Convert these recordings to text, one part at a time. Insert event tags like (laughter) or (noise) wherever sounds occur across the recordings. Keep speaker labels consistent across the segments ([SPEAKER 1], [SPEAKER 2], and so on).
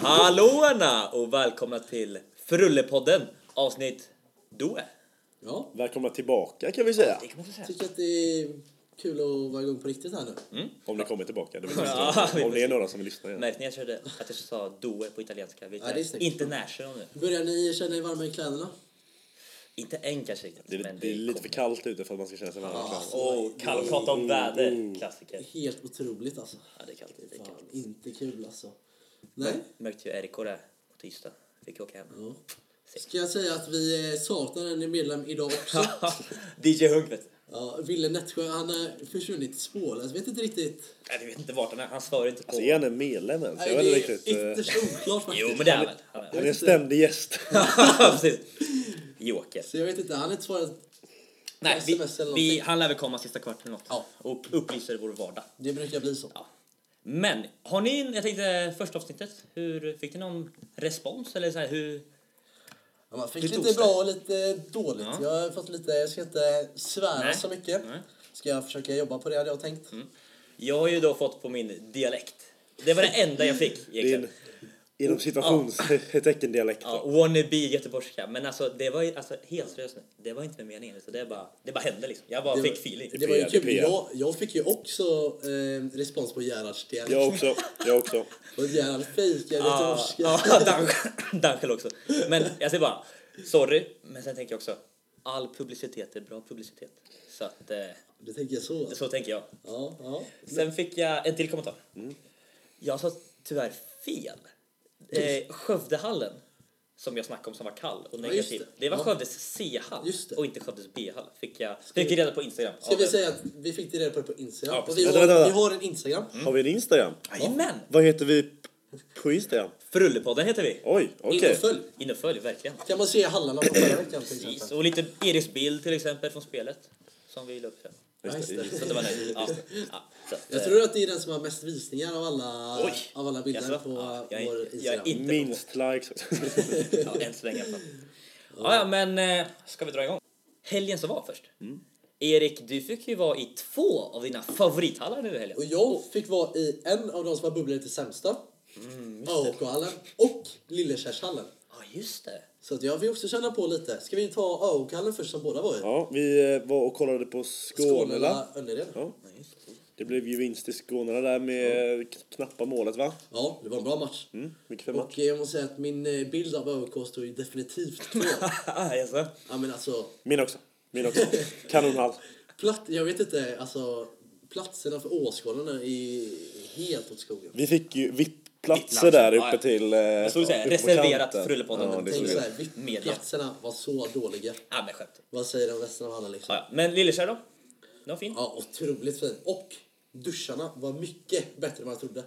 [SPEAKER 1] Hallåna och välkomna till Frullepodden avsnitt Doe.
[SPEAKER 2] Ja,
[SPEAKER 3] Välkomna tillbaka kan vi säga.
[SPEAKER 1] Det måste jag säga.
[SPEAKER 2] jag tycker att det är kul att vara igång på riktigt här
[SPEAKER 1] Mm.
[SPEAKER 2] nu.
[SPEAKER 3] Om ni kommer tillbaka. Det vill
[SPEAKER 1] Ja,
[SPEAKER 3] säga.
[SPEAKER 1] vi
[SPEAKER 3] om
[SPEAKER 1] får
[SPEAKER 3] ni är några som vill lyssna igen.
[SPEAKER 1] Märkte ni jag körde att jag sa Doe på italienska? Vi
[SPEAKER 2] Ja, det är
[SPEAKER 1] är
[SPEAKER 2] snyggt.
[SPEAKER 1] international nu.
[SPEAKER 2] Börjar ni känna er varma i kläderna?
[SPEAKER 1] Inte än kanske riktigt.
[SPEAKER 3] Det är,
[SPEAKER 1] men
[SPEAKER 3] det är lite för
[SPEAKER 1] kommer.
[SPEAKER 3] kallt ute för att man ska känna sig varm.
[SPEAKER 2] Ja.
[SPEAKER 1] Åh, kallt. Prata om
[SPEAKER 3] Mm.
[SPEAKER 1] väder. Klassiker.
[SPEAKER 2] Helt otroligt alltså.
[SPEAKER 1] Ja, det är kallt. Det är kallt.
[SPEAKER 2] Fan, inte kul alltså. Nej.
[SPEAKER 1] Märkte ju RK där på tisdag. Fick åka hem. (laughs)
[SPEAKER 2] Ja. Ska jag säga att vi eh, saknar en medlem idag också?
[SPEAKER 1] DJ Hunk vet du.
[SPEAKER 2] (laughs) Ja, Wille Nättsjö, han har försvunnit spårlöst. Vet inte riktigt.
[SPEAKER 1] Nej, vi vet inte vart han är. Han svarar inte på...
[SPEAKER 3] Alltså, är han en medlem ens?
[SPEAKER 2] Nej,
[SPEAKER 3] Jag vet
[SPEAKER 2] det
[SPEAKER 3] inte
[SPEAKER 2] är
[SPEAKER 3] riktigt. eh,
[SPEAKER 2] ytterst oklart
[SPEAKER 1] (laughs)
[SPEAKER 2] faktiskt.
[SPEAKER 1] Jo, men det är han väl. Han är-
[SPEAKER 3] Han är en ständig gäst.
[SPEAKER 1] Precis. Joker.
[SPEAKER 2] Så jag vet inte, han har inte svarat.
[SPEAKER 1] Nej, vi,
[SPEAKER 2] SMS eller någonting.
[SPEAKER 1] vi, han lär väl komma sista kvarten eller något.
[SPEAKER 2] Ja.
[SPEAKER 1] Och upplyser vår vardag.
[SPEAKER 2] Det brukar bli så.
[SPEAKER 1] Ja. Men har ni, en- jag tänkte första avsnittet, hur, fick ni någon respons eller så här, hur?
[SPEAKER 2] Ja, man fick
[SPEAKER 1] Det
[SPEAKER 2] lite
[SPEAKER 1] togs det.
[SPEAKER 2] bra och lite dåligt.
[SPEAKER 1] Ja.
[SPEAKER 2] Jag har fått lite, jag ska inte svära
[SPEAKER 1] Nej.
[SPEAKER 2] så mycket.
[SPEAKER 1] Nej.
[SPEAKER 2] Ska jag försöka jobba på det hade jag tänkt.
[SPEAKER 1] Jag har ju då fått på min dialekt. Det var det enda jag
[SPEAKER 2] (laughs)
[SPEAKER 1] fick egentligen.
[SPEAKER 3] Din, inom situationstecken dialekt.
[SPEAKER 1] Ja, wannabe göteborgska. Men alltså det var ju, alltså helt seriöst nu, det var inte med meningen. Så det bara, det bara hände liksom. Jag bara
[SPEAKER 2] Det var-
[SPEAKER 1] fick feeling.
[SPEAKER 2] Det var ju
[SPEAKER 3] PR,
[SPEAKER 2] kul.
[SPEAKER 3] PR.
[SPEAKER 2] Jag, jag fick ju också eh, respons på Gerhards dialekt.
[SPEAKER 3] Jag också. Jag också.
[SPEAKER 2] Och Gerhard fejkade
[SPEAKER 1] Ja,
[SPEAKER 2] göteborgska.
[SPEAKER 1] (laughs) ja, Dan- Ah, Dankel också. Men jag säger bara, sorry. Men sen tänker jag också, all publicitet är bra publicitet. Så att, eh,
[SPEAKER 2] (laughs) Det tänker jag så. alltså.
[SPEAKER 1] så tänker jag.
[SPEAKER 2] Ja, ja.
[SPEAKER 1] Sen fick jag en till kommentar. Mm. Jag sa tyvärr fel. Eh, Skövdehallen, som jag snackade om som var kall och
[SPEAKER 2] just
[SPEAKER 1] negativ.
[SPEAKER 2] det.
[SPEAKER 1] det. var
[SPEAKER 2] Ja.
[SPEAKER 1] Skövdes C-hall
[SPEAKER 2] Just det.
[SPEAKER 1] och inte Skövdes B-hall. Fick jag, fick jag reda på Instagram.
[SPEAKER 2] Ska
[SPEAKER 1] av
[SPEAKER 2] vi
[SPEAKER 1] en-
[SPEAKER 2] säga att vi fick det reda på det på Instagram.
[SPEAKER 1] Ja,
[SPEAKER 2] och vi,
[SPEAKER 3] precis. Vänta,
[SPEAKER 2] har,
[SPEAKER 3] vänta.
[SPEAKER 2] vi har en
[SPEAKER 1] Mm.
[SPEAKER 2] Instagram.
[SPEAKER 3] Har vi en Instagram?
[SPEAKER 1] Jajamän!
[SPEAKER 3] Vad heter vi p- på Instagram?
[SPEAKER 1] Frullepodden heter vi.
[SPEAKER 2] Oh.
[SPEAKER 3] Oj,
[SPEAKER 2] In
[SPEAKER 3] okej.
[SPEAKER 2] och följ.
[SPEAKER 1] In och följ, verkligen.
[SPEAKER 2] Kan man se Hallarna på förra veckan till
[SPEAKER 1] Precis.
[SPEAKER 2] exempel.
[SPEAKER 1] Och lite Eriks bild till exempel från spelet. Som vi la upp sen.
[SPEAKER 2] Ja, just det.
[SPEAKER 1] Så att det var nöjd. Ja. Ja, så att,
[SPEAKER 2] Jag
[SPEAKER 1] eh,
[SPEAKER 2] tror att det är den som har mest visningar av alla,
[SPEAKER 1] Oj.
[SPEAKER 2] av alla bilder
[SPEAKER 1] Jaså?
[SPEAKER 2] på
[SPEAKER 1] Ja, jag är-
[SPEAKER 2] vår
[SPEAKER 1] jag är
[SPEAKER 2] Instagram.
[SPEAKER 1] inte-
[SPEAKER 3] Minst likes. (laughs)
[SPEAKER 1] Ja, än så länge i alla fall. Ja, ja, men eh, ska vi dra igång? Helgen som var först. Erik, du fick ju vara i två av dina favorithallar nu i helgen.
[SPEAKER 2] Och jag fick vara i en av de som var bubblade till sämsta.
[SPEAKER 1] Mm,
[SPEAKER 2] AOK-hallen och Lillekärshallen.
[SPEAKER 1] Ja, just (laughs) det.
[SPEAKER 2] Så att jag vill också känna på lite. Ska vi ta AOK-hallen först som båda var i?
[SPEAKER 3] Ja, vi eh, var och kollade på Skånela.
[SPEAKER 2] Önnered. Ja.
[SPEAKER 3] Ja. Det blev ju vinst i Skånela där med eh, k- knappa målet va?
[SPEAKER 2] ja, det var en bra match.
[SPEAKER 3] Mm, mycket för match.
[SPEAKER 2] Och eh, jag måste säga att min eh, bild av AOK står ju definitivt kvar.
[SPEAKER 1] alltså.
[SPEAKER 2] ja men alltså,
[SPEAKER 3] Min också. Min
[SPEAKER 2] (laughs)
[SPEAKER 3] också. Kanonhall.
[SPEAKER 2] platt, jag vet inte, alltså platserna för åskådarna är helt åt skogen.
[SPEAKER 3] Vi fick ju VIP-platser
[SPEAKER 1] VIP-platser,
[SPEAKER 3] där
[SPEAKER 1] ja,
[SPEAKER 3] uppe
[SPEAKER 1] ja.
[SPEAKER 3] till... eh,
[SPEAKER 1] Jag såg säga,
[SPEAKER 3] uppe på
[SPEAKER 1] reserverat
[SPEAKER 3] kanten.
[SPEAKER 1] för Ullepodden.
[SPEAKER 3] Ja, det såg
[SPEAKER 2] Tänk så
[SPEAKER 3] jag.
[SPEAKER 2] här,
[SPEAKER 1] Media.
[SPEAKER 2] VIP-platserna var så dåliga.
[SPEAKER 1] Ja, men skämt.
[SPEAKER 2] Vad säger den resten av hallen liksom?
[SPEAKER 1] Ja, ja. Men Lillekärr då? Den var fin.
[SPEAKER 2] Ja, otroligt fin. Och duscharna var mycket bättre än man trodde.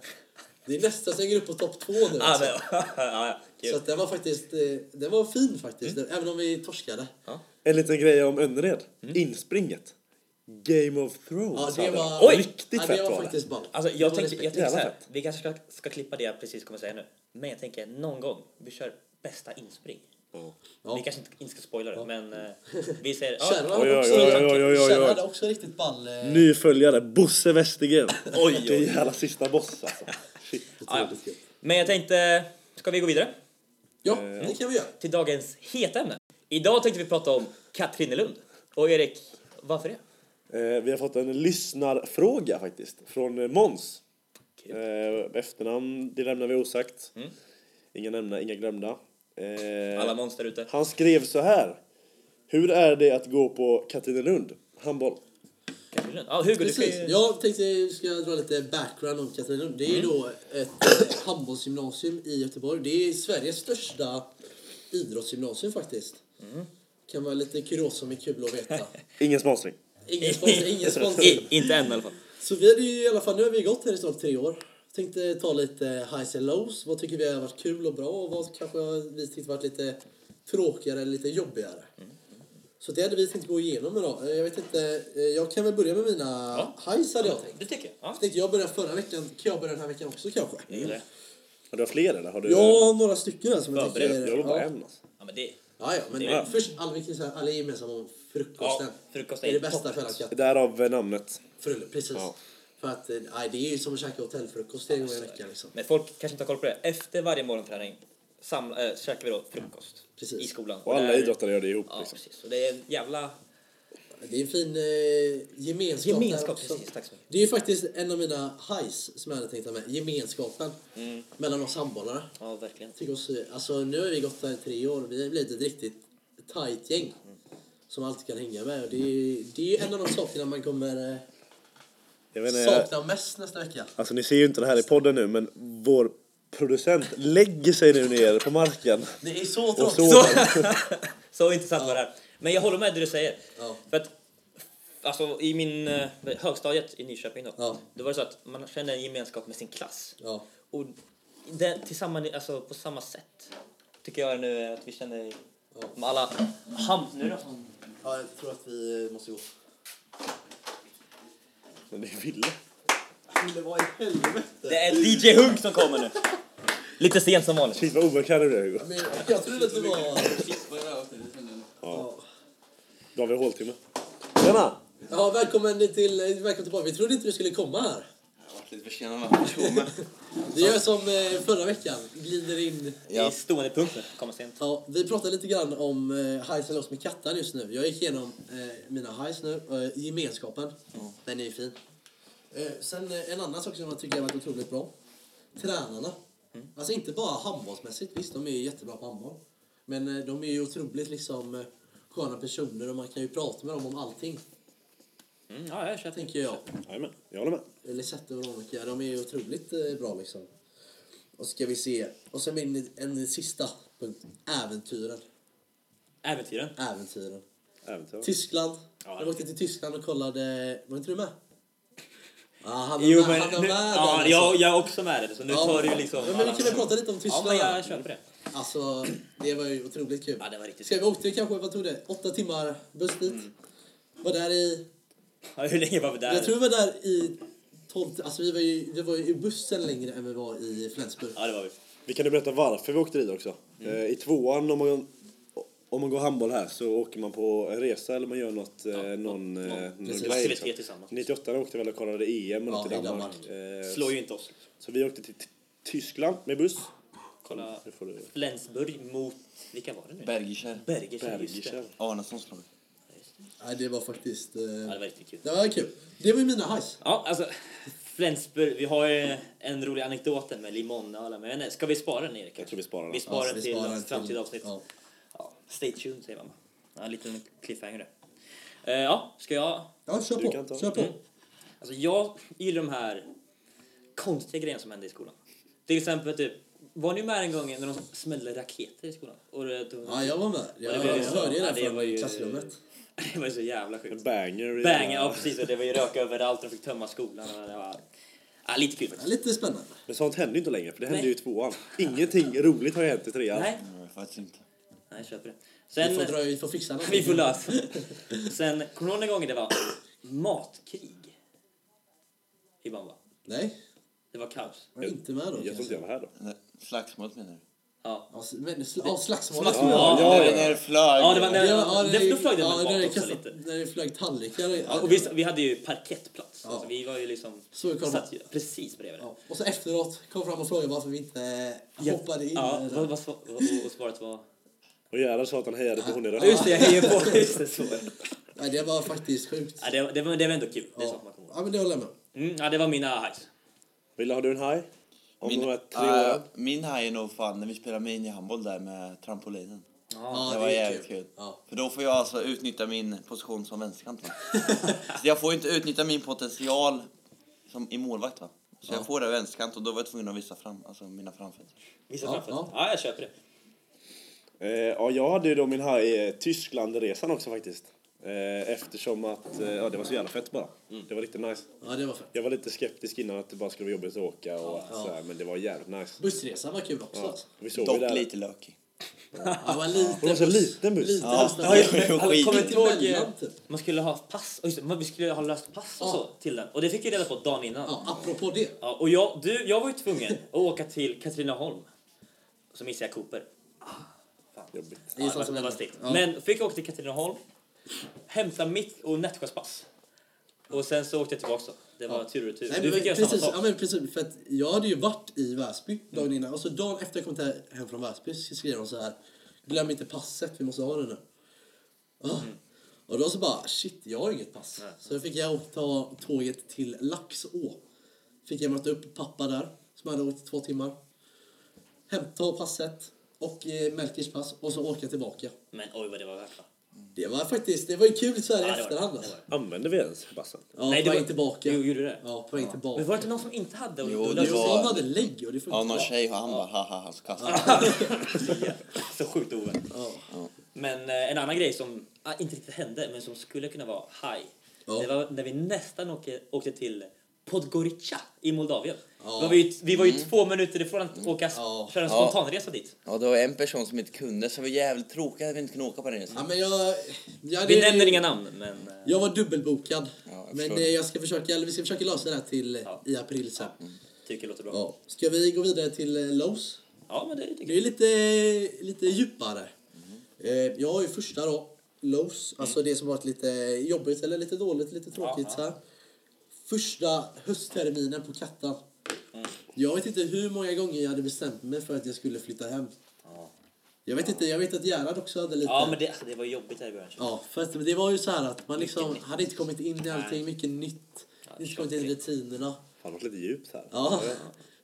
[SPEAKER 2] Det är nästan så jag går upp på topp två nu.
[SPEAKER 1] Ja,
[SPEAKER 2] Alltså.
[SPEAKER 1] men, (laughs) ja, ja, kul.
[SPEAKER 2] Så att den var faktiskt eh, den var fin faktiskt, även om vi torskade.
[SPEAKER 1] Ja.
[SPEAKER 3] En liten grej om Önnered.
[SPEAKER 1] Mm.
[SPEAKER 3] Inspringet. Game of
[SPEAKER 2] Ja,
[SPEAKER 3] Thrones.
[SPEAKER 2] det
[SPEAKER 3] hade de.
[SPEAKER 2] var,
[SPEAKER 1] Oj!
[SPEAKER 3] Riktigt
[SPEAKER 2] Alltså,
[SPEAKER 3] fett
[SPEAKER 2] ja, det var
[SPEAKER 3] var det.
[SPEAKER 2] faktiskt ball.
[SPEAKER 1] Alltså,
[SPEAKER 2] Det
[SPEAKER 1] jag
[SPEAKER 2] var
[SPEAKER 1] tänker
[SPEAKER 2] respekt.
[SPEAKER 1] jag tänker så
[SPEAKER 3] Jävla
[SPEAKER 1] här,
[SPEAKER 3] fett.
[SPEAKER 1] vi kanske ska, ska klippa det jag precis kommer säga nu. Men jag tänker någon gång, vi kör bästa inspring.
[SPEAKER 2] Ja.
[SPEAKER 1] Vi kanske inte, inte ska spoila det, men eh, vi säger...
[SPEAKER 2] Kärran
[SPEAKER 3] Oj,
[SPEAKER 2] hade
[SPEAKER 3] oj,
[SPEAKER 2] också,
[SPEAKER 3] oj, oj, oj, oj, oj.
[SPEAKER 2] Kärran hade också riktigt ball. eh,
[SPEAKER 3] Ny följare, Bosse Westergren.
[SPEAKER 1] (laughs) Oj,
[SPEAKER 3] Det är
[SPEAKER 1] oj.
[SPEAKER 3] jävla sista boss alltså.
[SPEAKER 1] (laughs)
[SPEAKER 3] Shit.
[SPEAKER 1] Ja,
[SPEAKER 2] otroligt
[SPEAKER 1] ja.
[SPEAKER 2] kul.
[SPEAKER 1] Men jag tänkte, ska vi gå vidare?
[SPEAKER 2] Ja,
[SPEAKER 3] Eh,
[SPEAKER 2] det kan vi göra.
[SPEAKER 1] till dagens heta ämne. Idag tänkte vi prata om Katrinelund. Och Erik, varför det?
[SPEAKER 3] Eh, vi har fått en lyssnarfråga faktiskt. Från eh, Måns.
[SPEAKER 1] Kul.
[SPEAKER 3] Eh, efternamn, det lämnar vi osagt. Inga nämnda, inga glömda. Eh,
[SPEAKER 1] Mm. Alla monster ute.
[SPEAKER 3] Han skrev så här. Hur är det att gå på Katrinelund? Handboll.
[SPEAKER 1] Katrinelund. Ja, Hugo, du ska
[SPEAKER 2] Precis.
[SPEAKER 1] ju...
[SPEAKER 2] Jag tänkte jag ska dra lite background om Katrinelund. Det är ju då ett eh, handbollsgymnasium i Göteborg. Det är Sveriges största idrottsgymnasium faktiskt. Kan vara lite kuriosa som är kul att veta.
[SPEAKER 3] Ingen sponsring.
[SPEAKER 2] Ingen sponsring, ingen
[SPEAKER 1] (laughs)
[SPEAKER 2] sponsring.
[SPEAKER 1] I, inte än i alla fall.
[SPEAKER 2] Så vi hade ju i alla fall, nu har vi gått här i snart tre år. Tänkte ta lite highs and lows. Vad tycker vi har varit kul och bra och vad kanske vi tyckte varit lite tråkigare eller lite jobbigare. Så det hade vi tänkt gå igenom idag. Eh, Jag vet inte, eh, jag kan väl börja med mina highs hade jag tänkt.
[SPEAKER 1] Det tycker jag. Ja.
[SPEAKER 2] Jag tänkte jag började förra veckan, kan jag börja den här veckan också kanske?
[SPEAKER 1] Mm.
[SPEAKER 3] Har du haft fler eller? Har du,
[SPEAKER 2] Jag har några stycken här som jag
[SPEAKER 1] Förberedd.
[SPEAKER 3] Jag
[SPEAKER 2] tycker...
[SPEAKER 3] har bara
[SPEAKER 2] ja.
[SPEAKER 3] en alltså.
[SPEAKER 1] ja, men det...
[SPEAKER 2] Ja, ja, men
[SPEAKER 1] Det är-
[SPEAKER 2] först alla, vi kan säga, alla är gemensamma om frukosten.
[SPEAKER 1] Ja, frukosten
[SPEAKER 2] Det är det
[SPEAKER 1] är
[SPEAKER 2] bästa
[SPEAKER 1] toppen.
[SPEAKER 2] för alla katter.
[SPEAKER 3] Därav namnet.
[SPEAKER 2] Frulle, precis.
[SPEAKER 3] Ja.
[SPEAKER 2] För att eh, nej, det är ju som att käka hotellfrukost en gång i veckan. Liksom.
[SPEAKER 1] Men folk kanske inte har koll på det. Efter varje morgonträning samla, äh, käkar vi då frukost
[SPEAKER 2] Precis.
[SPEAKER 1] i skolan.
[SPEAKER 3] Och alla
[SPEAKER 1] där-
[SPEAKER 3] idrottare gör det ihop.
[SPEAKER 1] Ja,
[SPEAKER 3] liksom.
[SPEAKER 1] precis. Och det är en jävla...
[SPEAKER 2] Det är en fin eh, gemenskap.
[SPEAKER 1] Gemenskap,
[SPEAKER 2] där också.
[SPEAKER 1] precis. Tack så mycket.
[SPEAKER 2] Det är ju faktiskt en av mina highs som jag hade tänkt ta med. Gemenskapen mellan oss handbollare.
[SPEAKER 1] Ja, verkligen.
[SPEAKER 2] Jag tycker oss, eh, alltså, nu har vi gått där i tre år. Vi har blivit ett riktigt tight gäng som man alltid kan hänga med. Och det, är, det är ju en av de sakerna man kommer eh,
[SPEAKER 3] Jag vet inte, jag-
[SPEAKER 2] sakna mest nästa vecka.
[SPEAKER 3] alltså ni ser ju inte det här i podden nu, men vår producent lägger sig nu ner på marken.
[SPEAKER 2] Det är så
[SPEAKER 3] Och
[SPEAKER 2] tråkigt.
[SPEAKER 3] så,
[SPEAKER 2] (laughs)
[SPEAKER 1] Så intressant var det här. Men jag håller med det du säger.
[SPEAKER 2] Ja.
[SPEAKER 1] För att alltså, i min eh, högstadiet i Nyköping då,
[SPEAKER 2] Ja.
[SPEAKER 1] då var det så att man kände en gemenskap med sin klass.
[SPEAKER 2] Ja.
[SPEAKER 1] Och det, tillsammans, alltså, på samma sätt tycker jag nu är att vi känner
[SPEAKER 2] Ja.
[SPEAKER 1] med alla... Hamp nu då.
[SPEAKER 2] ja, jag tror att vi eh, måste gå.
[SPEAKER 3] men det är Ville.
[SPEAKER 2] Ville, vad i helvete?
[SPEAKER 1] Det är DJ Hunk som kommer nu. Lite sent som vanligt.
[SPEAKER 3] Shit vad obekväm du blev Hugo.
[SPEAKER 2] Men jag trodde att det var...
[SPEAKER 3] Då har vi håltimme. Tjena!
[SPEAKER 2] Ja, välkommen till... eh, Välkommen tillbaka. Vi trodde inte du skulle komma här.
[SPEAKER 4] Jag har varit lite försenad med
[SPEAKER 2] (laughs)
[SPEAKER 4] personen.
[SPEAKER 2] Vi gör som eh, förra veckan, glider in.
[SPEAKER 1] I stående punkten. Kommer sent.
[SPEAKER 2] Ja, vi pratade lite grann om eh, highs eller lows med Kattan just nu. Jag gick igenom eh, mina highs nu. Eh, gemenskapen, den är ju fin. Eh, sen eh, en annan sak som jag tycker har varit otroligt bra. Tränarna.
[SPEAKER 4] Mm.
[SPEAKER 2] Alltså inte bara handbollsmässigt, visst de är ju jättebra på handboll. Men eh, de är ju otroligt liksom eh, sköna personer och man kan ju prata med dem om allting,
[SPEAKER 1] Mm, ja, jag köper.
[SPEAKER 2] tänker jag.
[SPEAKER 3] Jajamän, jag håller med.
[SPEAKER 2] Eller sett och Veronica, de är ju otroligt eh, bra liksom. Och ska vi se. Och sen min en sista punkt. Äventyren.
[SPEAKER 1] Äventyren.
[SPEAKER 2] Äventyren.
[SPEAKER 3] Äventyr.
[SPEAKER 2] Tyskland.
[SPEAKER 3] Ja.
[SPEAKER 2] Jag åkte till Tyskland och kollade. Var inte du med? Ja, han var
[SPEAKER 1] Jo,
[SPEAKER 2] med.
[SPEAKER 1] men
[SPEAKER 2] han var
[SPEAKER 1] nu,
[SPEAKER 2] med där,
[SPEAKER 1] ja,
[SPEAKER 2] alltså.
[SPEAKER 1] jag, jag är också med det, så nu
[SPEAKER 2] Ja,
[SPEAKER 1] tar du ju liksom...
[SPEAKER 2] Ja, men vi kunde
[SPEAKER 1] alla-
[SPEAKER 2] prata lite om
[SPEAKER 1] Ja,
[SPEAKER 2] Tyskland.
[SPEAKER 1] men jag köper det.
[SPEAKER 2] Alltså, det var ju otroligt kul.
[SPEAKER 1] Ja, det var riktigt Mm.
[SPEAKER 2] Ska vi åkte kanske, vad tog det? Åtta timmar buss dit. Var där i...
[SPEAKER 1] Ja, hur länge var vi där?
[SPEAKER 2] Jag tror vi var där i 12... Alltså vi var ju, vi var ju i bussen längre än vi var i Flensburg.
[SPEAKER 1] Ja, det var vi.
[SPEAKER 3] Vi kan ju berätta varför vi åkte dit också.
[SPEAKER 1] Mm.
[SPEAKER 3] Eh, I tvåan om man, om man går handboll här så åker man på en resa eller man gör något, eh, någon, eh, någon
[SPEAKER 2] precis.
[SPEAKER 3] grej.
[SPEAKER 1] Aktivitet
[SPEAKER 3] Liksom.
[SPEAKER 1] tillsammans.
[SPEAKER 3] 98 åkte väl och kollade EM och
[SPEAKER 2] Ja,
[SPEAKER 3] något i
[SPEAKER 2] i
[SPEAKER 3] Danmark. Eh,
[SPEAKER 1] Slår ju inte oss.
[SPEAKER 3] Så vi åkte till T- Tyskland med buss.
[SPEAKER 1] Kolla
[SPEAKER 3] Nu får du
[SPEAKER 1] Flensburg mot... Vilka var det nu?
[SPEAKER 4] Bergiskär.
[SPEAKER 1] Bergersen, just det.
[SPEAKER 3] Bergiskär.
[SPEAKER 4] Arnessons lag.
[SPEAKER 2] Nej, det var faktiskt... Eh,
[SPEAKER 1] Ja, det var riktigt kul.
[SPEAKER 2] det var kul. Det var ju mina highs.
[SPEAKER 1] Ja, alltså... Flensburg, vi har ju en rolig anekdot där med limonölen, men jag vet inte, ska vi spara den Erik?
[SPEAKER 3] Jag tror vi sparar den.
[SPEAKER 1] Vi sparar
[SPEAKER 2] Ja,
[SPEAKER 1] den
[SPEAKER 2] vi
[SPEAKER 1] till
[SPEAKER 2] sparar
[SPEAKER 1] ett
[SPEAKER 2] den till-
[SPEAKER 1] framtida avsnitt.
[SPEAKER 2] ja.
[SPEAKER 1] Ja, Stay tuned säger man. Ja, en liten cliffhanger där. Eh, Ja, ska jag
[SPEAKER 2] Ja, kör
[SPEAKER 3] Du
[SPEAKER 2] på.
[SPEAKER 3] kan ta.
[SPEAKER 2] Kör på.
[SPEAKER 1] Alltså jag gillar de här konstiga grejerna som händer i skolan. Till exempel typ, var ni med en gång när de smällde raketer i skolan? Och det, de,
[SPEAKER 2] Ja, jag var med. Jag,
[SPEAKER 1] Ja, det var
[SPEAKER 2] jag
[SPEAKER 1] ju-
[SPEAKER 2] hörde ju
[SPEAKER 1] ja,
[SPEAKER 2] det
[SPEAKER 1] det
[SPEAKER 2] där
[SPEAKER 1] var ju-
[SPEAKER 2] från klassrummet.
[SPEAKER 1] (laughs) det var så jävla
[SPEAKER 3] En
[SPEAKER 1] sjukt.
[SPEAKER 3] banger. i-
[SPEAKER 1] Bang, ja precis. Och det var ju rök överallt och de fick tömma skolan. Och det var, ja, lite kul
[SPEAKER 2] Ja,
[SPEAKER 1] faktiskt.
[SPEAKER 2] Lite spännande.
[SPEAKER 3] Men sånt händer ju inte längre för det hände
[SPEAKER 1] Nej.
[SPEAKER 3] ju i tvåan. Ingenting roligt har ju hänt i trean.
[SPEAKER 1] Nej,
[SPEAKER 4] Nej, faktiskt inte.
[SPEAKER 1] nej, jag köper det.
[SPEAKER 2] Vi får, dra,
[SPEAKER 1] Sen,
[SPEAKER 2] vi får fixa något.
[SPEAKER 1] vi får lösa. Sen, kommer du ihåg en gång det var matkrig? I Bamba.
[SPEAKER 2] Nej,
[SPEAKER 1] Det var kaos.
[SPEAKER 2] var inte med då
[SPEAKER 3] Jag tror inte jag var här då.
[SPEAKER 4] Nej, Slagsmålet menar du?
[SPEAKER 1] Ja.
[SPEAKER 2] Ja, s- men, sl- ja, slagsmålet.
[SPEAKER 1] Slagsmål.
[SPEAKER 2] Ja,
[SPEAKER 1] Ja,
[SPEAKER 4] det
[SPEAKER 3] ja,
[SPEAKER 4] var när det flög.
[SPEAKER 1] Ja, det var när- det-
[SPEAKER 2] är-
[SPEAKER 1] då flög det
[SPEAKER 2] ja,
[SPEAKER 1] väl
[SPEAKER 2] när
[SPEAKER 1] bak
[SPEAKER 2] det
[SPEAKER 1] också
[SPEAKER 2] kastat-
[SPEAKER 1] lite.
[SPEAKER 2] När det flög tallrikar.
[SPEAKER 1] Ja, och vi, vi hade ju parkettplats.
[SPEAKER 2] Ja.
[SPEAKER 1] Alltså, vi var ju liksom...
[SPEAKER 2] Så vi kollade.
[SPEAKER 1] satt ju precis bredvid det.
[SPEAKER 2] Ja, Och så efteråt kom fram och frågade varför vi inte
[SPEAKER 1] Ja.
[SPEAKER 2] hoppade in.
[SPEAKER 1] Ja,
[SPEAKER 2] eller-
[SPEAKER 1] vad, vad, sva- och, och svaret var...
[SPEAKER 3] Och Gerhard sa att han hejade på hon i
[SPEAKER 1] Ja, just det, jag hejar på. (laughs) Just det, så.
[SPEAKER 2] Nej, det var faktiskt sjukt.
[SPEAKER 1] Ja, det, var- det, var, det var ändå kul. Det är
[SPEAKER 2] Ja,
[SPEAKER 1] sånt man kommer ihåg.
[SPEAKER 2] Ja, men det håller jag med om.
[SPEAKER 1] Mm, ja, det var mina highs.
[SPEAKER 3] Ville, har du en haj? Om
[SPEAKER 4] Min,
[SPEAKER 3] de här tre
[SPEAKER 4] äh,
[SPEAKER 3] åren?
[SPEAKER 4] min haj är nog fan när vi spelar minihandboll där med trampolinen.
[SPEAKER 2] Ja,
[SPEAKER 4] det var
[SPEAKER 2] är
[SPEAKER 4] jävligt kul.
[SPEAKER 2] Ja.
[SPEAKER 4] För då får jag alltså utnyttja min position som vänsterkant. Va? så jag får inte utnyttja min potential som i målvakt. Va? Så jag får det vänsterkant och då var jag tvungen att visa fram, alltså mina framfötter.
[SPEAKER 1] Vissa
[SPEAKER 2] Ja,
[SPEAKER 1] framför. Ja.
[SPEAKER 2] ja.
[SPEAKER 1] jag köper det.
[SPEAKER 3] Eh, ja, jag hade ju då min här i eh, Tysklandresan också faktiskt. Eh, eftersom att eh, ja, det var så jävla fett bara. Det var riktigt nice.
[SPEAKER 2] Ja, det var fett.
[SPEAKER 3] Jag var lite skeptisk innan att det bara skulle vara jobbigt att åka och att, så här, men det var jävligt nice.
[SPEAKER 2] Bussresan var kul också.
[SPEAKER 3] Ja,
[SPEAKER 2] alltså.
[SPEAKER 3] vi såg ju
[SPEAKER 4] Dock
[SPEAKER 3] där.
[SPEAKER 4] lite lökig.
[SPEAKER 2] Ja, det var en liten
[SPEAKER 3] Det var så
[SPEAKER 2] buss.
[SPEAKER 3] liten buss.
[SPEAKER 2] Liten
[SPEAKER 4] Ja.
[SPEAKER 2] buss.
[SPEAKER 4] (laughs) Ja, ja, ja.
[SPEAKER 1] Alltså,
[SPEAKER 4] skit.
[SPEAKER 1] kommer du inte ihåg... eh,
[SPEAKER 2] Emellan, typ.
[SPEAKER 1] Man skulle ha pass. Och just, det, man, vi skulle ha löst pass och
[SPEAKER 2] Ja.
[SPEAKER 1] så till den. Och det fick vi reda på dagen innan. Ja.
[SPEAKER 2] Ja, apropå det.
[SPEAKER 1] och jag, du, jag var ju tvungen att åka till Katrineholm. Så missade jag Cooper.
[SPEAKER 3] Jobbigt.
[SPEAKER 2] Det är
[SPEAKER 1] Ja,
[SPEAKER 2] sånt som
[SPEAKER 1] det var
[SPEAKER 2] händer.
[SPEAKER 1] stekt. Men fick åka till Katrineholm, hämta mitt och Nätsjös pass. Och sen så åkte jag tillbaka då. Det var tur och tur.
[SPEAKER 2] Nej,
[SPEAKER 1] du
[SPEAKER 2] men,
[SPEAKER 1] fick göra
[SPEAKER 2] precis,
[SPEAKER 1] samma
[SPEAKER 2] ja,
[SPEAKER 1] sak.
[SPEAKER 2] men precis, för att jag hade ju varit i Väsby dagen innan och så dagen efter jag kom till hem från Väsby så skrev de så här Glöm inte passet, vi måste ha det nu. Ah.
[SPEAKER 1] Mm.
[SPEAKER 2] Och då så bara shit, jag har inget pass. Så då fick jag ta tåget till Laxå. Fick jag möta upp pappa där som hade åkt i två timmar. Hämta passet och eh, Melkers pass och så åka tillbaka.
[SPEAKER 1] Men oj vad det var värt va?
[SPEAKER 2] Det var faktiskt, det var ju kul så här
[SPEAKER 1] Ja,
[SPEAKER 2] i
[SPEAKER 1] det var det.
[SPEAKER 2] efterhand.
[SPEAKER 1] Det
[SPEAKER 2] alltså.
[SPEAKER 1] var det.
[SPEAKER 3] Använder vi ens bassen?
[SPEAKER 1] Nej,
[SPEAKER 2] Ja, Nej,
[SPEAKER 1] det
[SPEAKER 2] på
[SPEAKER 1] var-
[SPEAKER 2] väg tillbaka.
[SPEAKER 1] Jo, gjorde du det?
[SPEAKER 2] Ja, på väg tillbaka.
[SPEAKER 1] Men var det inte någon som inte hade? Och
[SPEAKER 4] Jo,
[SPEAKER 1] då
[SPEAKER 4] det
[SPEAKER 1] löste
[SPEAKER 2] Jo,
[SPEAKER 1] sig?
[SPEAKER 4] var-
[SPEAKER 2] han hade lägg och det funkar
[SPEAKER 4] Ja, någon
[SPEAKER 2] bra.
[SPEAKER 4] tjej och han bara haha, ha, så kastade han.
[SPEAKER 1] (laughs) Så sjukt oväntat.
[SPEAKER 2] Ja.
[SPEAKER 1] Men eh, en annan grej som ah, inte riktigt hände, men som skulle kunna vara high.
[SPEAKER 2] Ja.
[SPEAKER 1] Det var när vi nästan åkte, åkte till Podgorica i Moldavien.
[SPEAKER 2] Ja. Mm.
[SPEAKER 1] Var vi, ju- vi var ju två minuter ifrån att åka,
[SPEAKER 2] Ja.
[SPEAKER 1] köra en
[SPEAKER 4] Ja.
[SPEAKER 1] spontanresa dit.
[SPEAKER 4] Ja, det var en person som inte kunde, så det var jävligt tråkigt att vi inte kunde åka på den
[SPEAKER 2] Ja,
[SPEAKER 4] resan.
[SPEAKER 2] men jag, jag,
[SPEAKER 1] Vi
[SPEAKER 2] det-
[SPEAKER 1] nämner inga namn, men... eh,
[SPEAKER 2] Jag var dubbelbokad.
[SPEAKER 4] jag
[SPEAKER 2] men
[SPEAKER 4] förstår.
[SPEAKER 2] eh, jag ska försöka, eller vi ska försöka lösa det här till eh,
[SPEAKER 1] Ja.
[SPEAKER 2] i april sen.
[SPEAKER 4] mm.
[SPEAKER 1] Tycker det låter bra. Ja,
[SPEAKER 2] Ja. Ska vi gå vidare till eh, Lowe's?
[SPEAKER 1] men det tycker
[SPEAKER 2] Det är
[SPEAKER 1] jag.
[SPEAKER 2] lite, lite djupare.
[SPEAKER 4] Mm.
[SPEAKER 2] Eh, Jag har ju första då, Lowe's,
[SPEAKER 1] Mm.
[SPEAKER 2] alltså det som varit lite jobbigt eller lite dåligt, lite tråkigt så här. Första höstterminen på Kattan.
[SPEAKER 1] Mm.
[SPEAKER 2] Jag vet inte hur många gånger jag hade bestämt mig för att jag skulle flytta hem. Jag vet inte, jag vet att Gerhard också hade lite...
[SPEAKER 1] Ja, men det, alltså, det var jobbigt här i början.
[SPEAKER 2] Ja, för att det var ju så här att man liksom hade inte kommit in i allting, mycket nytt. inte kommit in i rutinerna.
[SPEAKER 3] Fan, det var lite djupt här.
[SPEAKER 2] Ja.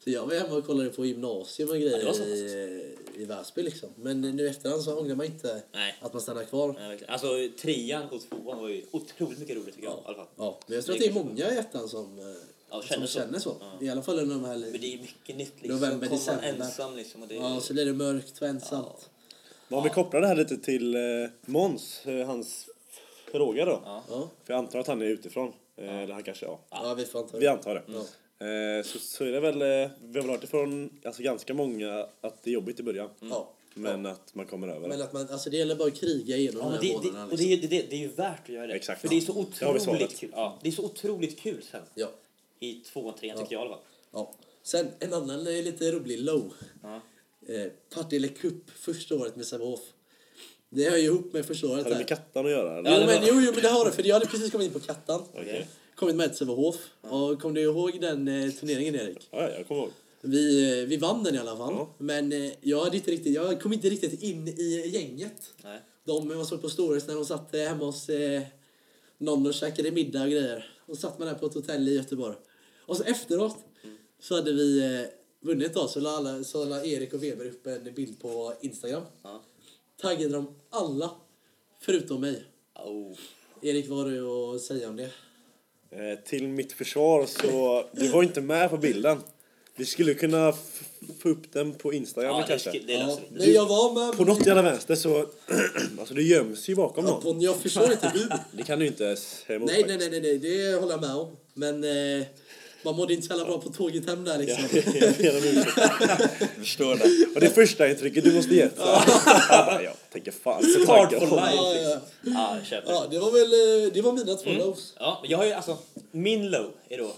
[SPEAKER 2] Så jag var hemma och kollade på gymnasium och grejer
[SPEAKER 1] det var så
[SPEAKER 2] i, i Väsby liksom. Men nu efterhand så ångrar man inte
[SPEAKER 1] Nej.
[SPEAKER 2] att man stannar kvar.
[SPEAKER 1] Nej, verkligen. Alltså trean och tvåan var ju otroligt mycket roligt tycker jag i alla fall.
[SPEAKER 2] Ja, men jag tror att det är många i ettan som, eh,
[SPEAKER 1] Ja,
[SPEAKER 2] som
[SPEAKER 1] känner så.
[SPEAKER 2] känner så. I alla fall under de här...
[SPEAKER 1] Men det är ju mycket nytt liksom.
[SPEAKER 2] November,
[SPEAKER 1] Kommer man
[SPEAKER 2] december.
[SPEAKER 1] ensam liksom. Och det är...
[SPEAKER 2] Ja, så blir det mörkt och ensamt.
[SPEAKER 3] Men om vi kopplar det här lite till eh, Måns, eh, hans fråga då.
[SPEAKER 2] Ja,
[SPEAKER 3] För jag antar att han är utifrån. Eh, Eller han kanske, ja.
[SPEAKER 2] ja vi får anta
[SPEAKER 3] Vi
[SPEAKER 2] det.
[SPEAKER 3] antar det. Eh, så, så är det väl, eh, vi har väl hört ifrån alltså, ganska många att det är jobbigt i början.
[SPEAKER 2] Ja.
[SPEAKER 3] Men att man kommer över
[SPEAKER 2] Men
[SPEAKER 3] det.
[SPEAKER 2] att man, alltså det gäller bara att kriga igenom
[SPEAKER 1] Ja, men
[SPEAKER 2] de
[SPEAKER 1] det,
[SPEAKER 2] här
[SPEAKER 1] det,
[SPEAKER 2] månaderna. liksom.
[SPEAKER 1] och det, är ju- det, det är ju värt att göra det.
[SPEAKER 3] Exakt.
[SPEAKER 1] För det är så
[SPEAKER 3] Där har vi svaret.
[SPEAKER 1] otroligt kul. Ja, det är så otroligt kul sen.
[SPEAKER 2] Ja.
[SPEAKER 1] I tvåan, trean tycker jag i alla fall.
[SPEAKER 2] Ja. Sen en annan eh, lite rolig low.
[SPEAKER 1] Ja.
[SPEAKER 2] Eh, Partille Cup första året med Sävehof. Det hör ju ihop med första året
[SPEAKER 3] Hade det med
[SPEAKER 2] här.
[SPEAKER 3] kattan att göra? Eller?
[SPEAKER 2] Jo
[SPEAKER 1] det var-
[SPEAKER 2] men, jo, jo, men det har det, för jag hade precis kommit in på Kattan.
[SPEAKER 3] Okej.
[SPEAKER 2] Kommit med till Sävehof. Och kom du ihåg den eh, turneringen Erik?
[SPEAKER 3] Ja, ja, jag kommer ihåg.
[SPEAKER 2] Vi, eh, vi vann den i alla fall.
[SPEAKER 3] Ja.
[SPEAKER 2] Men eh, jag, hade inte riktigt, jag kom inte riktigt in i gänget.
[SPEAKER 1] Nej.
[SPEAKER 2] De eh, var så på Storis när de satt eh, hemma hos eh, någon och käkade middag och grejer. Och satt man där på ett hotell i Göteborg. Och så efteråt
[SPEAKER 3] Mm.
[SPEAKER 2] så hade vi eh, vunnit då. Så la, alla, så la Erik och Weber upp en bild på Instagram.
[SPEAKER 1] Ja.
[SPEAKER 2] Taggade dem alla förutom mig.
[SPEAKER 1] Oh.
[SPEAKER 2] Erik, vad har du att säga om det?
[SPEAKER 3] Eh, till mitt försvar så, du var inte med på bilden. Vi skulle kunna f- få upp den på Instagram
[SPEAKER 1] Ja, det,
[SPEAKER 3] kanske.
[SPEAKER 1] sk- det
[SPEAKER 2] Ja,
[SPEAKER 1] löser vi.
[SPEAKER 2] nej, jag var med.
[SPEAKER 3] alltså, På något jävla vänster så, (clears throat) alltså det göms ju bakom
[SPEAKER 2] Ja,
[SPEAKER 3] någon.
[SPEAKER 2] Bonnie, jag förstår inte du.
[SPEAKER 3] Det kan du inte ens säga emot
[SPEAKER 2] Nej, nej,
[SPEAKER 3] faktiskt.
[SPEAKER 2] nej, nej, nej, det håller jag med om. Men eh, man mådde inte så jävla bra på tåget hem där liksom.
[SPEAKER 3] Jag ber om ursäkt.
[SPEAKER 2] (laughs)
[SPEAKER 4] Jag förstår det.
[SPEAKER 3] Och det första intrycket du måste ge. så- (laughs) Jag tänker fan så
[SPEAKER 1] Hard
[SPEAKER 3] taggad.
[SPEAKER 1] for life.
[SPEAKER 2] Ja, ja.
[SPEAKER 1] Ja, jag köper.
[SPEAKER 2] ja, det var väl eh, det var mina två
[SPEAKER 1] Mm.
[SPEAKER 2] lows.
[SPEAKER 1] Ja, men jag har ju alltså, min low är då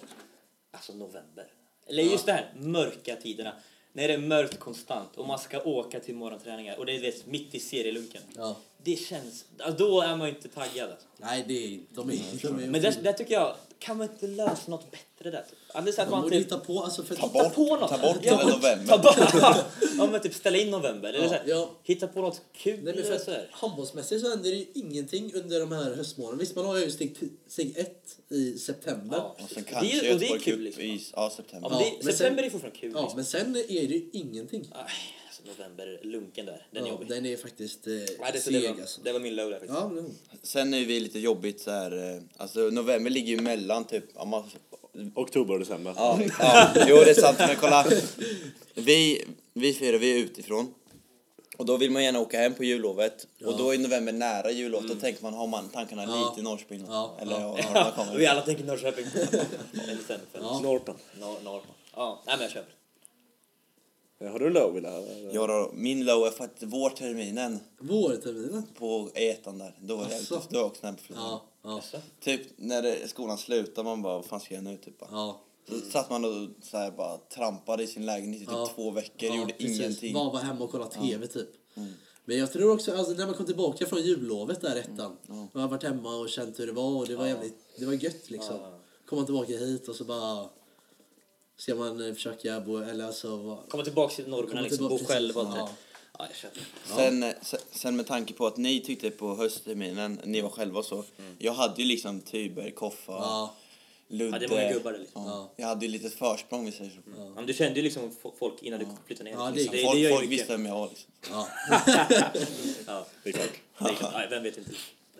[SPEAKER 1] alltså november. Eller just det här mörka tiderna. När det är mörkt konstant och man ska åka till morgonträningar och det är du vet, mitt i serielunken.
[SPEAKER 2] Ja.
[SPEAKER 1] Det känns, alltså, då är man ju inte taggad. Alltså.
[SPEAKER 2] Nej, det är inte. De är, de är
[SPEAKER 1] Men där, där tycker jag, kan man inte lösa något bättre där? typ? Alltså, att
[SPEAKER 2] man
[SPEAKER 1] man
[SPEAKER 2] borde
[SPEAKER 1] typ,
[SPEAKER 2] hitta på, alltså för
[SPEAKER 4] Ta
[SPEAKER 1] hitta
[SPEAKER 4] bort,
[SPEAKER 1] på något.
[SPEAKER 4] ta bort
[SPEAKER 1] Ja,
[SPEAKER 4] hela november.
[SPEAKER 1] Ta bort, (laughs) ja men typ ställa in november eller
[SPEAKER 2] Ja,
[SPEAKER 1] så här,
[SPEAKER 2] ja.
[SPEAKER 1] hitta på något kul
[SPEAKER 2] Nej, men för
[SPEAKER 1] eller så
[SPEAKER 2] att
[SPEAKER 1] här.
[SPEAKER 2] handbollsmässigt så händer det ju ingenting under de här höstmånaderna. Visst, man har ju steg, t- steg ett i september.
[SPEAKER 1] Ja.
[SPEAKER 2] Ja.
[SPEAKER 4] Och sen
[SPEAKER 1] Det är-
[SPEAKER 4] kanske
[SPEAKER 1] och det är
[SPEAKER 4] Göteborg
[SPEAKER 1] kul,
[SPEAKER 4] Cup
[SPEAKER 1] liksom.
[SPEAKER 4] i ja, september.
[SPEAKER 1] Ja, men
[SPEAKER 2] men
[SPEAKER 1] det,
[SPEAKER 2] sen-
[SPEAKER 1] september är fortfarande kul. liksom.
[SPEAKER 2] men sen är det ju ingenting.
[SPEAKER 1] Aj, alltså, november, lunken där, den är
[SPEAKER 2] Ja,
[SPEAKER 1] jobbig.
[SPEAKER 2] den är faktiskt eh,
[SPEAKER 1] Nej, det, så det,
[SPEAKER 2] seg
[SPEAKER 1] var,
[SPEAKER 2] alltså.
[SPEAKER 1] det var min low där faktiskt.
[SPEAKER 2] Ja, men,
[SPEAKER 4] Sen är vi lite jobbigt så här, eh, alltså november ligger ju mellan typ, om man,
[SPEAKER 3] Oktober och december.
[SPEAKER 4] ja, (laughs) ja, jo det är sant men kolla. Vi, vi fyra, vi är utifrån. Och då vill man gärna åka hem på jullovet. Och då är november nära jullovet, då tänker man, har man tankarna
[SPEAKER 2] Mm. Ja.
[SPEAKER 4] lite i Norrköping?
[SPEAKER 2] Ja,
[SPEAKER 4] Eller
[SPEAKER 2] ja.
[SPEAKER 4] ja. man
[SPEAKER 2] (laughs)
[SPEAKER 4] kommer.
[SPEAKER 1] Vi alla tänker Norrköping. Eller Sälenfeld.
[SPEAKER 2] Ja.
[SPEAKER 3] Norpen.
[SPEAKER 1] Norr, Norrman. Ja, nej men jag köper.
[SPEAKER 3] Eh, Har du Lowe där?
[SPEAKER 4] Ja, då, min low är faktiskt vårterminen
[SPEAKER 2] vårterminen.
[SPEAKER 4] på ettan där. Då var jag
[SPEAKER 2] Asså.
[SPEAKER 4] ute, då var jag också nära på flytten.
[SPEAKER 2] Ja, ja,
[SPEAKER 1] Jaså?
[SPEAKER 4] Typ när det, skolan slutar, man bara, vad fan ska jag nu? Typ, bara.
[SPEAKER 2] ja.
[SPEAKER 4] Så satt man och så här, bara trampade i sin lägenhet i typ
[SPEAKER 2] Ja.
[SPEAKER 4] två veckor,
[SPEAKER 2] Ja,
[SPEAKER 4] gjorde
[SPEAKER 2] precis.
[SPEAKER 4] ingenting.
[SPEAKER 2] Bara vara hemma och kolla tv typ. Men jag tror också, alltså, när man kom tillbaka från jullovet där ettan. Man har varit hemma och känt hur det var och det var jävligt, det var gött liksom. Kom man tillbaka hit och så bara ska man eh, försöka bo, eller alltså vara-
[SPEAKER 1] Komma tillbaka till normerna,
[SPEAKER 2] Komma
[SPEAKER 1] liksom,
[SPEAKER 2] tillbaka
[SPEAKER 1] bo
[SPEAKER 2] precis,
[SPEAKER 1] själv och allt
[SPEAKER 2] ja.
[SPEAKER 1] det. Ja, jag köper.
[SPEAKER 4] Sen, eh, se- sen med tanke på att ni tyckte på höstterminen, ni var själva och så. Jag hade ju liksom Tyber, Koffa,
[SPEAKER 2] Ja.
[SPEAKER 4] Ludde.
[SPEAKER 1] Ja, det var ju gubbar det liksom.
[SPEAKER 4] Ja. Jag hade ju lite försprång om vi säger så.
[SPEAKER 1] Ja, men du kände ju liksom fo- folk innan du flyttade ner.
[SPEAKER 2] Ja, det-
[SPEAKER 1] liksom.
[SPEAKER 4] Folk,
[SPEAKER 1] gör ju
[SPEAKER 4] folk
[SPEAKER 1] mycket.
[SPEAKER 4] visste vem jag var liksom.
[SPEAKER 2] Ja.
[SPEAKER 1] Ja,
[SPEAKER 3] Det är klart.
[SPEAKER 1] det är klart. Nej, vem vet inte.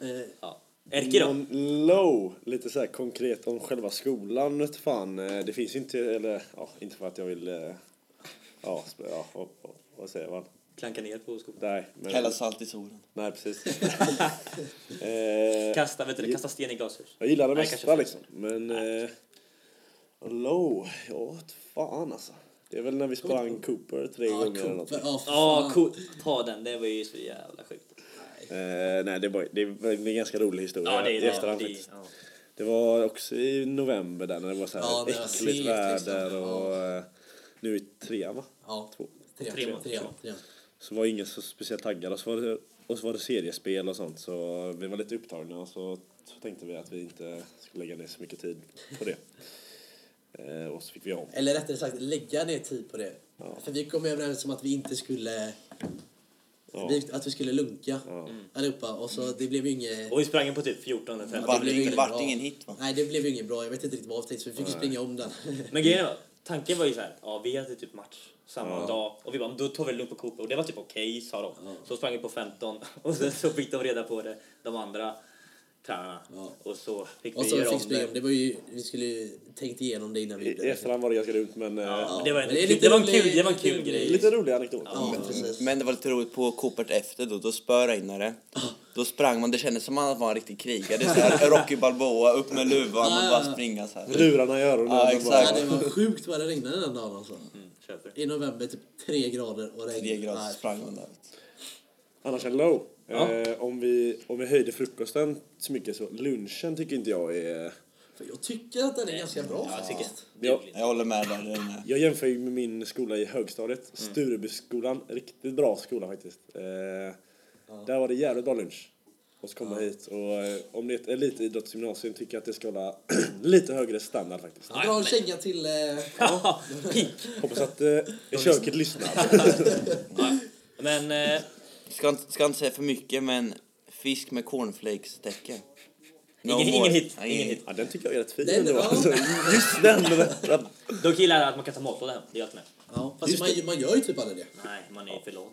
[SPEAKER 2] Eh,
[SPEAKER 1] Ja. Erke då?
[SPEAKER 3] Någon low, lite så här konkret om själva skolan, vet fan. eh, Det finns ju inte, eller ja, inte för att jag vill, eh, ja, sp- ja och, och, vad säger man?
[SPEAKER 1] Klanka ner på skolan.
[SPEAKER 3] Nej, men,
[SPEAKER 4] Hälla salt i solen.
[SPEAKER 3] nej
[SPEAKER 1] (laughs)
[SPEAKER 3] precis. eh,
[SPEAKER 1] Kasta, vet du, det, kasta sten i glashus.
[SPEAKER 3] jag gillar det
[SPEAKER 1] Nej,
[SPEAKER 3] mesta
[SPEAKER 1] kanske-
[SPEAKER 3] liksom, men eh, low, ja vet fan alltså. Det är väl när vi sprang Cooper tre
[SPEAKER 2] ja,
[SPEAKER 3] gånger eller något.
[SPEAKER 2] Cooper. Ja,
[SPEAKER 1] Ja,
[SPEAKER 2] fan.
[SPEAKER 1] cool. ta den. Det var ju så jävla sjukt.
[SPEAKER 3] Eh, nej, det var, det var en ganska rolig historia
[SPEAKER 1] Ja, det är
[SPEAKER 3] i efterhand
[SPEAKER 1] det.
[SPEAKER 3] faktiskt.
[SPEAKER 1] ja.
[SPEAKER 3] Det var också i november där när det var så här
[SPEAKER 2] Ja, det var
[SPEAKER 3] äckligt
[SPEAKER 2] segt,
[SPEAKER 3] väder
[SPEAKER 2] liksom.
[SPEAKER 3] och eh, nu i trean va?
[SPEAKER 2] Ja,
[SPEAKER 3] Två.
[SPEAKER 2] tre,
[SPEAKER 1] Tre
[SPEAKER 2] tre,
[SPEAKER 1] mål.
[SPEAKER 2] tre, tre.
[SPEAKER 3] Så var ingen så speciellt taggad och så var det, och så var det seriespel och sånt så vi var lite upptagna och så, så tänkte vi att vi inte skulle lägga ner så mycket tid på det. (laughs) eh, och så fick vi om.
[SPEAKER 2] Eller rättare sagt lägga ner tid på det. För vi kom överens om att vi inte skulle
[SPEAKER 3] Ja.
[SPEAKER 2] vi, att vi skulle lunka
[SPEAKER 3] Ja.
[SPEAKER 2] allihopa och så det blev ju inget
[SPEAKER 1] Och vi sprang in på typ 14 eller 15.
[SPEAKER 4] Vart
[SPEAKER 2] blev
[SPEAKER 4] ingen,
[SPEAKER 2] ingen
[SPEAKER 4] vart
[SPEAKER 2] bra.
[SPEAKER 4] ingen hit va?
[SPEAKER 2] Nej, det blev ju inget bra. Jag vet inte riktigt vad vi tänkte, så vi fick ju springa om den. (laughs)
[SPEAKER 1] Men grejen var, tanken var ju så här, ja vi hade typ match samma dag och vi bara, då tar vi det lugnt på Cooper och det var typ okej sa de. Så sprang vi på 15 (laughs) och sen så fick de reda på det, de andra tränarna. Och så fick (laughs)
[SPEAKER 2] och
[SPEAKER 1] vi
[SPEAKER 2] så
[SPEAKER 1] göra
[SPEAKER 2] fick
[SPEAKER 1] om det.
[SPEAKER 2] springa om. Det var ju, vi skulle ju tänkt igenom det innan vi
[SPEAKER 3] I, i
[SPEAKER 2] gjorde det.
[SPEAKER 3] efterhand var det ganska dumt men eh,
[SPEAKER 1] Ja, men det var, en,
[SPEAKER 2] Men det är
[SPEAKER 1] det,
[SPEAKER 2] lite
[SPEAKER 1] var en
[SPEAKER 2] rolig-
[SPEAKER 1] kul, det var en kul
[SPEAKER 2] lite
[SPEAKER 1] grej.
[SPEAKER 3] lite rolig anekdot.
[SPEAKER 2] Ja, precis.
[SPEAKER 4] Men det var lite roligt på Coopert efter då, då spöregnade det. Då sprang man, det kändes som att man var en riktig krigare. Så här, Rocky Balboa, upp med luvan och bara springa så här.
[SPEAKER 3] Lurarna i öronen.
[SPEAKER 4] Ja,
[SPEAKER 3] och bara-
[SPEAKER 2] Ja,
[SPEAKER 4] exakt.
[SPEAKER 2] det var sjukt vad det regnade den dagen alltså.
[SPEAKER 1] Mm, köper.
[SPEAKER 2] I november typ tre grader och regn.
[SPEAKER 4] Tre grader
[SPEAKER 2] Nej.
[SPEAKER 4] sprang man där.
[SPEAKER 3] Annars en low.
[SPEAKER 1] Ja.
[SPEAKER 3] Eh, om, vi, om vi höjde frukosten så mycket så lunchen tycker inte jag är...
[SPEAKER 2] För jag tycker att den är ganska bra.
[SPEAKER 1] Ja, jag tycker det.
[SPEAKER 3] Ja.
[SPEAKER 4] Jag håller med där. den är-
[SPEAKER 3] Jag jämför ju med min skola i högstadiet, Sturebyskolan. Riktigt bra skola faktiskt. Eh, Där var det jävligt bra lunch. Och så komma hit och eh, om det är ett elitidrottsgymnasium tycker jag att det ska hålla (clears throat) lite högre standard faktiskt.
[SPEAKER 2] Jag drar en känga till... Eh,
[SPEAKER 1] Ja, peak.
[SPEAKER 3] Hoppas att eh, köket lyssnar.
[SPEAKER 1] Men eh,
[SPEAKER 4] Ska inte, ska inte säga för mycket, men fisk med cornflakes-täcke.
[SPEAKER 1] Ingen- ingen hit,
[SPEAKER 4] Ja,
[SPEAKER 1] ingen
[SPEAKER 4] ingen
[SPEAKER 1] hit.
[SPEAKER 4] hit.
[SPEAKER 3] Ja, den tycker jag är rätt fin
[SPEAKER 2] Den är
[SPEAKER 3] ändå.
[SPEAKER 2] bra.
[SPEAKER 3] Alltså, (laughs) Just den! den-
[SPEAKER 1] då gillar jag att man kan ta matlåda hem, det gör jag med.
[SPEAKER 2] ja, fast man, man gör ju typ aldrig det.
[SPEAKER 1] Nej, man är för lat.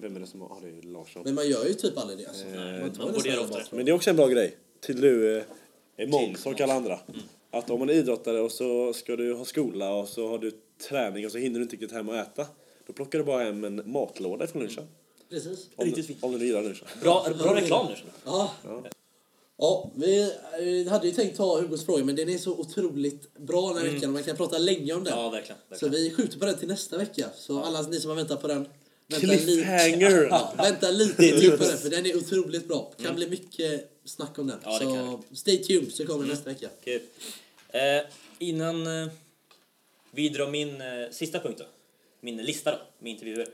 [SPEAKER 3] Vem är det som har... Ja, det är Larsson.
[SPEAKER 2] Men man gör ju typ aldrig det. Alltså. man
[SPEAKER 1] Eh, man borde göra
[SPEAKER 2] nästan
[SPEAKER 1] oftare.
[SPEAKER 2] bara-
[SPEAKER 3] Men det är också en bra grej till du eh, Måns och alla andra. Att om man är idrottare och så ska du ha skola och så har du träning och så hinner du inte riktigt hem och äta. Då plockar du bara hem en matlåda från lunchen.
[SPEAKER 2] Precis.
[SPEAKER 3] Om,
[SPEAKER 1] Riktigt fint.
[SPEAKER 3] om du nu gillar lunchen.
[SPEAKER 1] Bra, bra reklam nu. känner jag.
[SPEAKER 2] Ja. Ja, vi eh, hade ju tänkt ta Hugos fråga, men den är så otroligt bra den här veckan och man kan prata länge om den.
[SPEAKER 1] Mm. Ja, verkligen.
[SPEAKER 2] så
[SPEAKER 1] verkligen.
[SPEAKER 2] vi skjuter på den till nästa vecka. Så alla ni som har väntat på den, vänta, lite-
[SPEAKER 3] Cliffhanger!
[SPEAKER 2] (laughs) ja, vänta lite till på den, för den är otroligt bra. Det kan bli mycket snack om den.
[SPEAKER 1] Ja, det
[SPEAKER 2] så
[SPEAKER 1] kan
[SPEAKER 2] stay tuned, så kommer den nästa vecka.
[SPEAKER 1] Kul. Eh, innan eh, vi drar min eh, sista punkt då, min lista då, med intervjuer,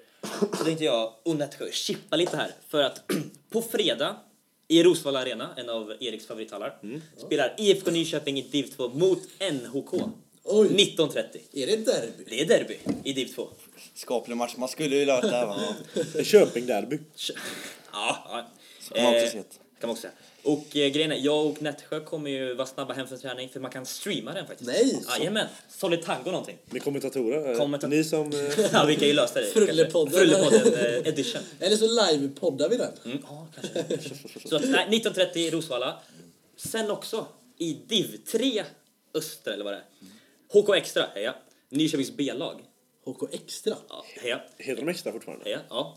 [SPEAKER 1] så tänkte jag och Nätsjö chippa lite här för att (clears throat) på fredag i Rosvalla Arena, en av Eriks favorithallar, spelar IFK Nyköping i DIV 2 mot NHK
[SPEAKER 2] Oj.
[SPEAKER 1] 19.30.
[SPEAKER 2] Är det ett derby?
[SPEAKER 1] Det är derby i DIV 2.
[SPEAKER 4] Skaplig match. Man skulle ju lösa det här, va?
[SPEAKER 3] Köping-derby.
[SPEAKER 1] Kö- Ja, ja.
[SPEAKER 4] Kan man också
[SPEAKER 1] Eh,
[SPEAKER 4] se.
[SPEAKER 1] kan man också säga. Och eh, grejen är, jag och Nätsjö kommer ju vara snabba hem från träning för man kan streama den faktiskt.
[SPEAKER 2] Nej, så-
[SPEAKER 1] Jajamän, Solid Tango någonting.
[SPEAKER 3] Med kommentatorer. eh,
[SPEAKER 1] Kommenta-
[SPEAKER 3] Ni som... eh,
[SPEAKER 1] Ja, vi kan ju lösa det. kanske.
[SPEAKER 2] Frullepodden.
[SPEAKER 1] Frullepodden
[SPEAKER 4] (laughs)
[SPEAKER 1] eh, edition.
[SPEAKER 2] Eller så live-poddar vi den.
[SPEAKER 1] Mm, ja, kanske. Så att, nej, 19.30 i Rosvalla. Sen också i DIV 3 Öster, eller vad det är. HK Extra, heja. Nyköpings B-lag.
[SPEAKER 2] HK Extra.
[SPEAKER 1] Ja, heja,
[SPEAKER 3] Heter de extra fortfarande?
[SPEAKER 1] heja. Ja.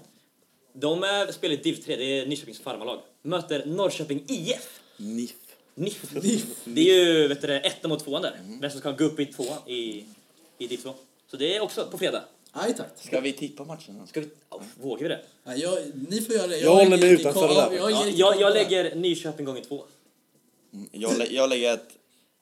[SPEAKER 1] De är, spelar i DIV 3, det är Nyköpings farmarlag. Möter Norrköping IF.
[SPEAKER 4] Niff.
[SPEAKER 1] NIF. Det är ju vet du, det, ettan mot tvåan där. Vem som ska gå upp i tvåan i, i DIV 2. Så det är också på fredag.
[SPEAKER 2] Aj tack.
[SPEAKER 4] Ska vi tippa matchen?
[SPEAKER 1] Ska vi, ja, vågar vi det?
[SPEAKER 2] Ja, jag, ni får göra det.
[SPEAKER 3] Jag
[SPEAKER 2] har
[SPEAKER 3] håller mig
[SPEAKER 2] ingen riktig
[SPEAKER 3] utanför
[SPEAKER 2] koll.
[SPEAKER 3] det där.
[SPEAKER 2] har ingen
[SPEAKER 1] Ja,
[SPEAKER 2] riktig
[SPEAKER 1] jag,
[SPEAKER 2] koll
[SPEAKER 1] jag
[SPEAKER 2] på det.
[SPEAKER 1] lägger Nyköping gånger två.
[SPEAKER 4] Jag, lä- jag lägger ett,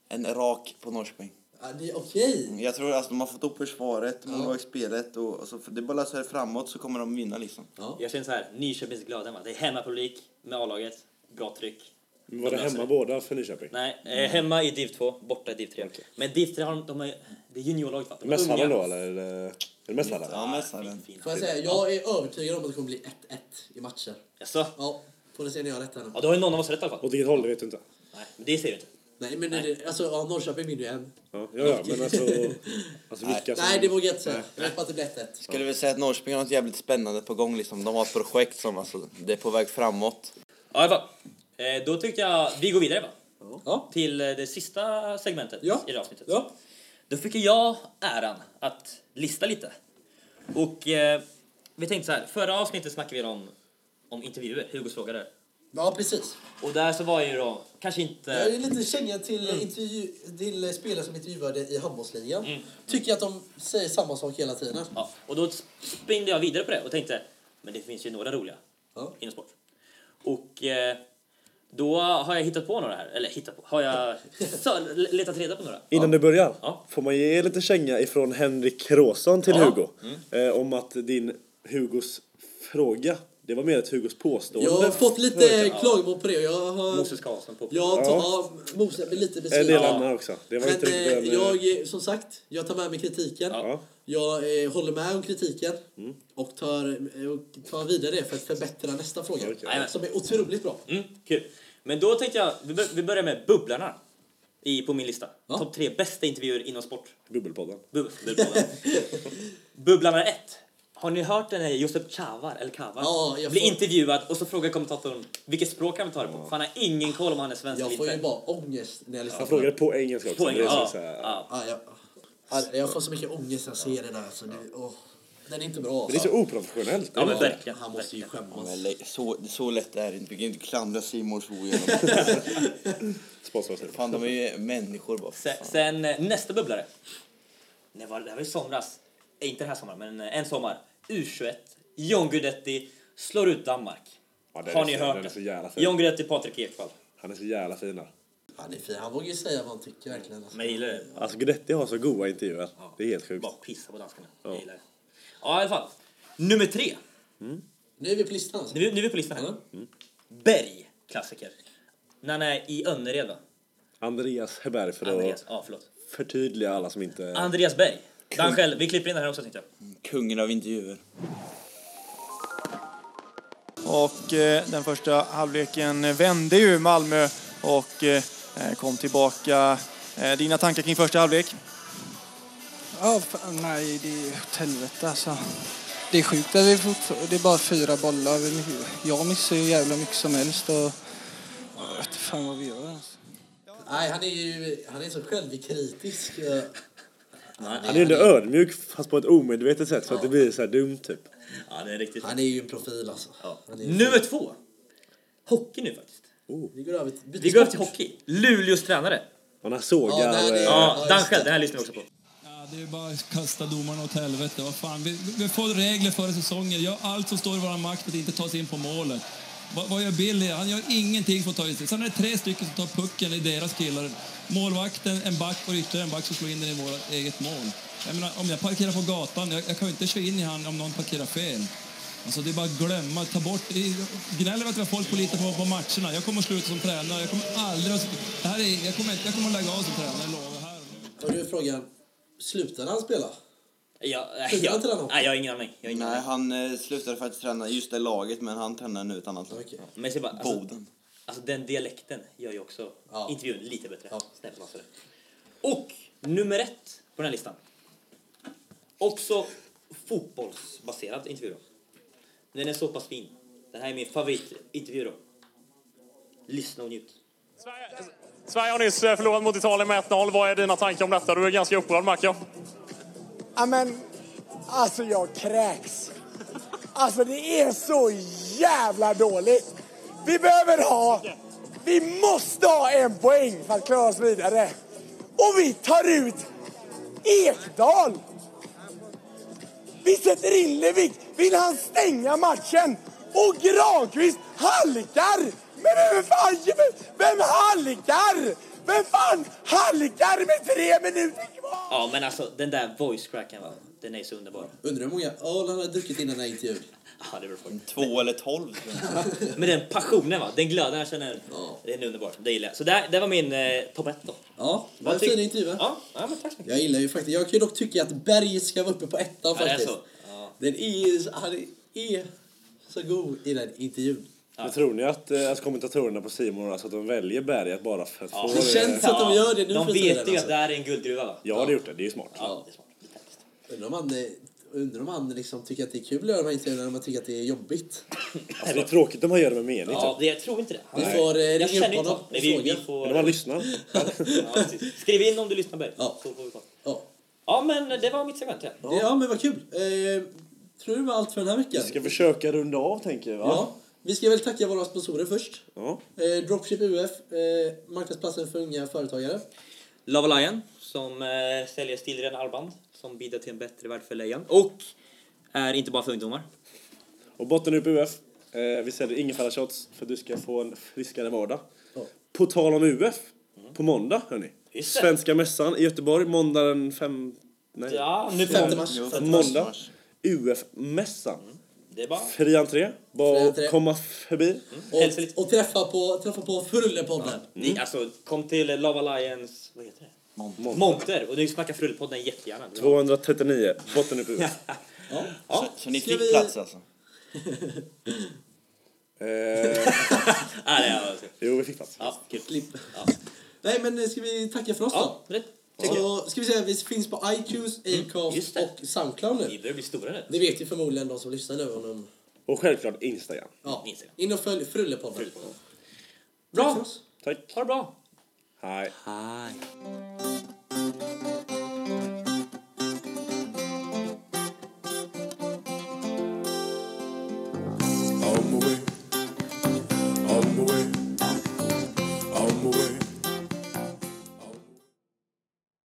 [SPEAKER 4] en rak på Norrköping.
[SPEAKER 2] Ja, det är okej.
[SPEAKER 4] Jag tror att alltså, de har fått upp försvaret, målvaktsspelet och och så det är bara att lösa det framåt så kommer de vinna liksom.
[SPEAKER 2] Ja.
[SPEAKER 1] Jag känner så här, Nyköpings glada hemma. Det är hemmapublik med A-laget, bra tryck.
[SPEAKER 3] Men Var det
[SPEAKER 1] De löser
[SPEAKER 3] hemma båda för Nyköping?
[SPEAKER 1] Nej, eh, hemma i div 2, borta i div 3. Men div 3 har de, de är, det är juniorlaget va? De är
[SPEAKER 3] Mässhallen då
[SPEAKER 1] unga.
[SPEAKER 3] eller? eh, Är det Mässhallen?
[SPEAKER 4] Ja, men så är det.
[SPEAKER 1] Fint, fint.
[SPEAKER 2] Får jag säga, jag är övertygad om att det kommer bli 1-1 i matcher.
[SPEAKER 1] Jaså?
[SPEAKER 2] Ja, får ni se när jag har rätt här nu.
[SPEAKER 1] Ja, då har ju någon av oss rätt i alla fall.
[SPEAKER 3] Åt vilket håll det vet du inte.
[SPEAKER 1] Nej, men det ser vi inte.
[SPEAKER 2] Nej, men det, alltså, ja, Norrköping vinner ju en.
[SPEAKER 3] Ja, ja, ja men alltså... alltså vilka som...
[SPEAKER 2] Nej, det vågar jag inte säga. Jag vet bara att det blir 1-1.
[SPEAKER 4] Skulle vi säga att Norrköping har något jävligt spännande på gång liksom. De har ett projekt som alltså, det är på väg framåt.
[SPEAKER 1] Ja, i alla fall. Eh, då tycker jag vi går vidare va?
[SPEAKER 2] Ja.
[SPEAKER 1] Till eh, det sista segmentet
[SPEAKER 2] Ja.
[SPEAKER 1] i det här avsnittet.
[SPEAKER 2] Ja.
[SPEAKER 1] Då fick jag äran att lista lite. Och eh, vi tänkte så här, förra avsnittet snackade vi om, om intervjuer, Hugos fråga där.
[SPEAKER 2] ja, precis.
[SPEAKER 1] Och där så var ju då, kanske inte...
[SPEAKER 2] Jag är lite känga till, intervju, till spelare som intervjuade i handbollsligan.
[SPEAKER 1] Mm.
[SPEAKER 2] Tycker att de säger samma sak hela tiden.
[SPEAKER 1] Ja, och då springde jag vidare på det och tänkte, men det finns ju några roliga
[SPEAKER 2] Ja.
[SPEAKER 1] inom sport. Och eh, då har jag hittat på några här, eller hittat på, har
[SPEAKER 2] (laughs)
[SPEAKER 1] jag så, letat reda på några.
[SPEAKER 3] Innan du börjar,
[SPEAKER 1] Ja.
[SPEAKER 3] får man ge lite känga ifrån Henrik Kråsson till
[SPEAKER 1] Ja. Mm.
[SPEAKER 3] Hugo eh, om att din Hugos fråga, det var mer ett Hugos påstående.
[SPEAKER 2] Jag har fått lite
[SPEAKER 3] Förut.
[SPEAKER 2] klagomål på det. Jag har,
[SPEAKER 1] Moses Karlsson på
[SPEAKER 2] jag tar, ja. Moses blir lite
[SPEAKER 3] En del
[SPEAKER 2] besviken.
[SPEAKER 3] annan också. Det var
[SPEAKER 2] Men
[SPEAKER 3] inte riktigt
[SPEAKER 2] eh,
[SPEAKER 3] den, eh,
[SPEAKER 2] jag, eh, som sagt, jag tar med mig kritiken.
[SPEAKER 3] Ja.
[SPEAKER 2] Jag eh, håller med om kritiken och, tar, eh, och tar vidare det för att förbättra nästa fråga.
[SPEAKER 1] Okej.
[SPEAKER 2] Som är otroligt bra.
[SPEAKER 1] Mm, kul. Men då tänkte jag, vi, bör, vi börjar med Bubblarna i, på min lista.
[SPEAKER 2] Ja.
[SPEAKER 1] Topp tre bästa intervjuer inom sport.
[SPEAKER 3] Bubbelpodden.
[SPEAKER 2] (laughs)
[SPEAKER 1] Bub, bubblarna. bubblarna 1. Har ni hört den här Josef Chavar, eller Kavar?
[SPEAKER 2] Ja, jag
[SPEAKER 1] Blir
[SPEAKER 2] får-
[SPEAKER 1] intervjuad och så frågar kommentatorn vilket språk han vill ta det på. För han har ingen koll om han är svensk
[SPEAKER 2] Jag
[SPEAKER 1] eller
[SPEAKER 2] får ju
[SPEAKER 1] inte.
[SPEAKER 2] bara ångest när jag lyssnar
[SPEAKER 3] Han
[SPEAKER 2] på
[SPEAKER 3] frågade
[SPEAKER 2] den.
[SPEAKER 3] på engelska också.
[SPEAKER 1] Poäng,
[SPEAKER 3] Det är så-
[SPEAKER 1] ja,
[SPEAKER 3] så här-
[SPEAKER 1] ja.
[SPEAKER 2] Ja, jag, ja, jag får så mycket ångest när jag ser det där. Alltså, det, åh, den är inte bra.
[SPEAKER 3] Men det är så oprofessionellt.
[SPEAKER 1] Ja, men
[SPEAKER 2] Ja,
[SPEAKER 1] verkligen.
[SPEAKER 2] Han måste ju
[SPEAKER 1] verkligen.
[SPEAKER 2] skämmas.
[SPEAKER 4] Men le- Så, så lätt är det inte. Vi kan ju inte klandra Simons Ho genom (laughs)
[SPEAKER 3] Sponsras nu.
[SPEAKER 4] Fan, de är ju människor bara.
[SPEAKER 1] Sen, sen eh, nästa bubblare. Nej, var, det här var i somras. Eh, Inte den här sommaren, men eh, en sommar. U21. John Guidetti slår ut Danmark.
[SPEAKER 3] Ja, den är
[SPEAKER 1] Har ni
[SPEAKER 3] fin,
[SPEAKER 1] hört
[SPEAKER 3] den är så jävla fin.
[SPEAKER 1] John Guidetti, Patrik Ekwall.
[SPEAKER 3] Han är så jävla fin där.
[SPEAKER 2] Han är fin. Han vågar ju säga vad han tycker verkligen. Alltså.
[SPEAKER 1] Men jag gillar det.
[SPEAKER 3] Alltså Guidetti har så goa intervjuer. Det är helt sjukt.
[SPEAKER 1] Bara pissa på danskarna. Jag gillar det. Ja, i alla fall. Nummer tre.
[SPEAKER 2] Nu är vi på listan. Alltså.
[SPEAKER 1] Nu, nu är vi på listan här. Berg, klassiker. När han är i Önnered, va?
[SPEAKER 3] Andreas Heberg för
[SPEAKER 1] Andreas,
[SPEAKER 3] att
[SPEAKER 1] ja, förlåt.
[SPEAKER 3] förtydliga alla som inte...
[SPEAKER 1] Andreas Berg. Dan själv, vi klipper in det här också tänkte jag.
[SPEAKER 4] Kungen av intervjuer.
[SPEAKER 5] Och eh, den första halvleken vände ju Malmö och eh, kom tillbaka. Eh, Dina tankar kring första halvlek?
[SPEAKER 6] Ja, fan, nej, det är åt helvete alltså. Det är sjukt att vi fortfar- det är bara fyra bollar. Jag missar ju jävla mycket som helst och jag vet inte fan vad vi gör ens.
[SPEAKER 2] Nej, han är ju han är så självkritisk. eh.
[SPEAKER 3] Han är ändå ödmjuk fast på ett omedvetet sätt så att det blir så här dumt typ.
[SPEAKER 1] Ja, det är riktigt.
[SPEAKER 2] Han är ju en profil alltså.
[SPEAKER 1] Ja.
[SPEAKER 2] Han är ju-
[SPEAKER 1] Nummer två. Hockey nu faktiskt.
[SPEAKER 2] Vi går över till,
[SPEAKER 1] Vi går över till hockey. Luleås tränare.
[SPEAKER 3] Och när sågar...
[SPEAKER 2] Ja, nej, det-
[SPEAKER 3] eh,
[SPEAKER 1] Ja,
[SPEAKER 2] Ja,
[SPEAKER 1] Dan
[SPEAKER 2] just
[SPEAKER 1] själv, det här lyssnar vi också på.
[SPEAKER 7] Ja, det är bara att kasta domarna åt helvete. Vad fan, vi, vi får regler före säsongen. Gör allt som står i vår makt för att inte ta sig in på målet. Vad, vad gör Billy? Han gör ingenting för att ta in sig. Sen är det tre stycken som tar pucken i deras killar. Målvakten, en back och ytterligare en back som slår in den i vårt eget mål. Jag menar, om jag parkerar på gatan, jag, jag kan ju inte köra in i han om någon parkerar fel. Alltså det är bara att glömma, ta bort. Gnäll över att vi har folk på lite på, på matcherna. Jag kommer att sluta som tränare. Jag kommer aldrig att... Det här är, jag, kommer, inte- jag kommer att lägga av som tränare, jag lovar. Här.
[SPEAKER 2] Och nu är frågan, slutar han spela?
[SPEAKER 1] Ja, nej,
[SPEAKER 2] Slutar
[SPEAKER 1] jag,
[SPEAKER 2] inte den hockey?
[SPEAKER 1] nej, jag har ingen aning. Jag har ingen
[SPEAKER 4] Nej,
[SPEAKER 1] aning.
[SPEAKER 4] han eh, slutade faktiskt träna just det laget, men han tränar nu ett annat lag.
[SPEAKER 2] Okej.
[SPEAKER 1] Men jag ser bara, alltså,
[SPEAKER 4] Boden.
[SPEAKER 1] alltså den dialekten gör ju också
[SPEAKER 2] Ja.
[SPEAKER 1] intervjun lite bättre.
[SPEAKER 2] Ja.
[SPEAKER 1] Snäppet vassare. Och nummer ett på den här listan. Också fotbollsbaserad intervju då. Den är så pass fin. Den här är min favoritintervju då. Lyssna och njut.
[SPEAKER 8] Sverige- Sverige har nyss eh, förlorat mot Italien med 1-0. Vad är dina tankar om detta? Du är ganska upprörd, märker jag.
[SPEAKER 9] Ja, men alltså jag kräks. Alltså det är så jävla dåligt. Vi behöver ha, vi måste ha en poäng för att klara oss vidare. Och vi tar ut Ekdal. Vi sätter in Levik. Vill han stänga matchen? Och Granqvist halkar! Men vem fan, vem halkar? Vem fan halkar med tre minuter kvar?
[SPEAKER 1] Ja, men alltså den där voice cracken, va? den är så underbar.
[SPEAKER 2] Undrar hur många öl han hade druckit innan den här intervjun.
[SPEAKER 1] Ja, det beror på.
[SPEAKER 4] Två eller tolv.
[SPEAKER 1] Men den passionen, va? den glöden jag känner,
[SPEAKER 2] Ja.
[SPEAKER 1] den är underbar. Det gillar jag. Så där, det var min eh, topp ett då.
[SPEAKER 2] Ja, det var en
[SPEAKER 1] tyck-
[SPEAKER 2] fin intervju. va?
[SPEAKER 1] Ja, ja men tack så mycket.
[SPEAKER 2] Jag gillar ju faktiskt, jag kan ju dock tycka att Berg ska vara uppe på ettan
[SPEAKER 1] Ja, det är
[SPEAKER 2] faktiskt.
[SPEAKER 1] så. Ja.
[SPEAKER 2] Den är, ju- han är så god i den intervjun.
[SPEAKER 3] Men tror ni att eh, alltså, kommentatorerna på Simon alltså, att de väljer berget bara för att få...
[SPEAKER 2] Det känns att de gör det
[SPEAKER 1] De
[SPEAKER 2] nu för alltså.
[SPEAKER 1] vet ju
[SPEAKER 2] tiden,
[SPEAKER 1] att det här är en guldgruva. Va?
[SPEAKER 3] Jag hade gjort det, det är ju smart.
[SPEAKER 1] Ja, det är smart. Det är praktiskt.
[SPEAKER 2] Undrar om han, eh, undrar om han liksom tycker att det är kul att göra de här intervjuerna eller om han tycker att det är jobbigt.
[SPEAKER 3] Alltså, det är tråkigt att man gör det med mening.
[SPEAKER 1] Ja,
[SPEAKER 3] typ.
[SPEAKER 1] det, jag tror inte det.
[SPEAKER 2] Vi får eh,
[SPEAKER 1] Jag
[SPEAKER 2] ringa
[SPEAKER 1] känner
[SPEAKER 2] upp
[SPEAKER 1] inte
[SPEAKER 2] honom
[SPEAKER 1] honom.
[SPEAKER 2] och
[SPEAKER 1] Nej, vi, vi
[SPEAKER 2] fråga.
[SPEAKER 1] får,
[SPEAKER 3] Eller man lyssnar.
[SPEAKER 1] ja, precis. Skriv in om du lyssnar Berg.
[SPEAKER 2] Ja.
[SPEAKER 1] Så får vi kolla.
[SPEAKER 2] Ja.
[SPEAKER 1] Ja, men eh, det var mitt segment. Ja.
[SPEAKER 2] Det- ja, men vad kul. Eh, tror du det var allt för den här veckan?
[SPEAKER 3] Vi ska försöka runda av, tänker jag. Va?
[SPEAKER 2] Ja. Vi ska väl tacka våra sponsorer först.
[SPEAKER 3] Ja.
[SPEAKER 2] Eh, Dropship UF, eh, marknadsplatsen för unga företagare.
[SPEAKER 1] Love Lion som eh, säljer stilrena armband som bidrar till en bättre värld för lejon och är inte bara för ungdomar.
[SPEAKER 3] Och botten upp UF. Eh, vi säljer ingefärashots för att du ska få en friskare vardag.
[SPEAKER 2] Ja.
[SPEAKER 3] På tal om UF. På måndag, hörni.
[SPEAKER 1] Just det.
[SPEAKER 3] Svenska mässan i Göteborg, måndag den fem... Nej.
[SPEAKER 1] Ja, nu
[SPEAKER 2] Femte mars. Mm.
[SPEAKER 4] Jo,
[SPEAKER 3] Måndag. UF-mässan.
[SPEAKER 1] Det är bara
[SPEAKER 3] Fri entré. Bara
[SPEAKER 2] Fri
[SPEAKER 3] att
[SPEAKER 2] entré. Mm.
[SPEAKER 3] komma förbi.
[SPEAKER 1] hälsa lite.
[SPEAKER 2] Och, och träffa på, träffa på Frullepodden.
[SPEAKER 1] Ni, alltså, kom till Love Lions vad heter det?
[SPEAKER 3] Måndag.
[SPEAKER 1] monter och ni snackar Frullepodden jättegärna.
[SPEAKER 3] 239. Botten upp UF.
[SPEAKER 2] Ja.
[SPEAKER 1] Ja.
[SPEAKER 4] Så ni
[SPEAKER 2] Ska
[SPEAKER 4] fick
[SPEAKER 2] vi-
[SPEAKER 4] plats alltså?
[SPEAKER 3] eh,
[SPEAKER 1] Ja, det är,
[SPEAKER 3] jo, vi fick plats.
[SPEAKER 1] ja, kul.
[SPEAKER 2] Klipp.
[SPEAKER 1] Ja.
[SPEAKER 2] Nej, men eh, ska vi tacka för oss
[SPEAKER 1] Ja,
[SPEAKER 2] då?
[SPEAKER 1] rätt. Tycker jag. Mm,
[SPEAKER 2] Så ska vi säga att vi finns på iTunes,
[SPEAKER 1] just
[SPEAKER 2] Acast
[SPEAKER 1] det.
[SPEAKER 2] och Soundcloud
[SPEAKER 1] Ni
[SPEAKER 2] nu.
[SPEAKER 1] börjar bli stora nu.
[SPEAKER 2] Det vet ju förmodligen de som lyssnar nu. Om de,
[SPEAKER 3] Och självklart Instagram.
[SPEAKER 2] ja.
[SPEAKER 1] Instagram.
[SPEAKER 2] In och följ Frullepodden.
[SPEAKER 1] Frullepodden.
[SPEAKER 2] Bra!
[SPEAKER 3] Tack.
[SPEAKER 1] Ha det bra!
[SPEAKER 3] Hej.
[SPEAKER 1] Hej.